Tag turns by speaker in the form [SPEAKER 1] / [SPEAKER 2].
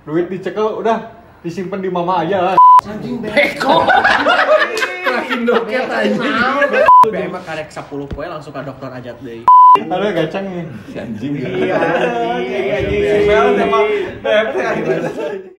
[SPEAKER 1] Duit dicekel udah disimpan di mama aja.
[SPEAKER 2] Anjing
[SPEAKER 3] Eko.
[SPEAKER 2] Kerakin doket anjing.
[SPEAKER 3] Be mah karek 10 poe langsung ka dokter ajat deui.
[SPEAKER 1] Ada gacang nih. Si anjing.
[SPEAKER 2] Iya, anjing,
[SPEAKER 1] Si Mel sama Beb.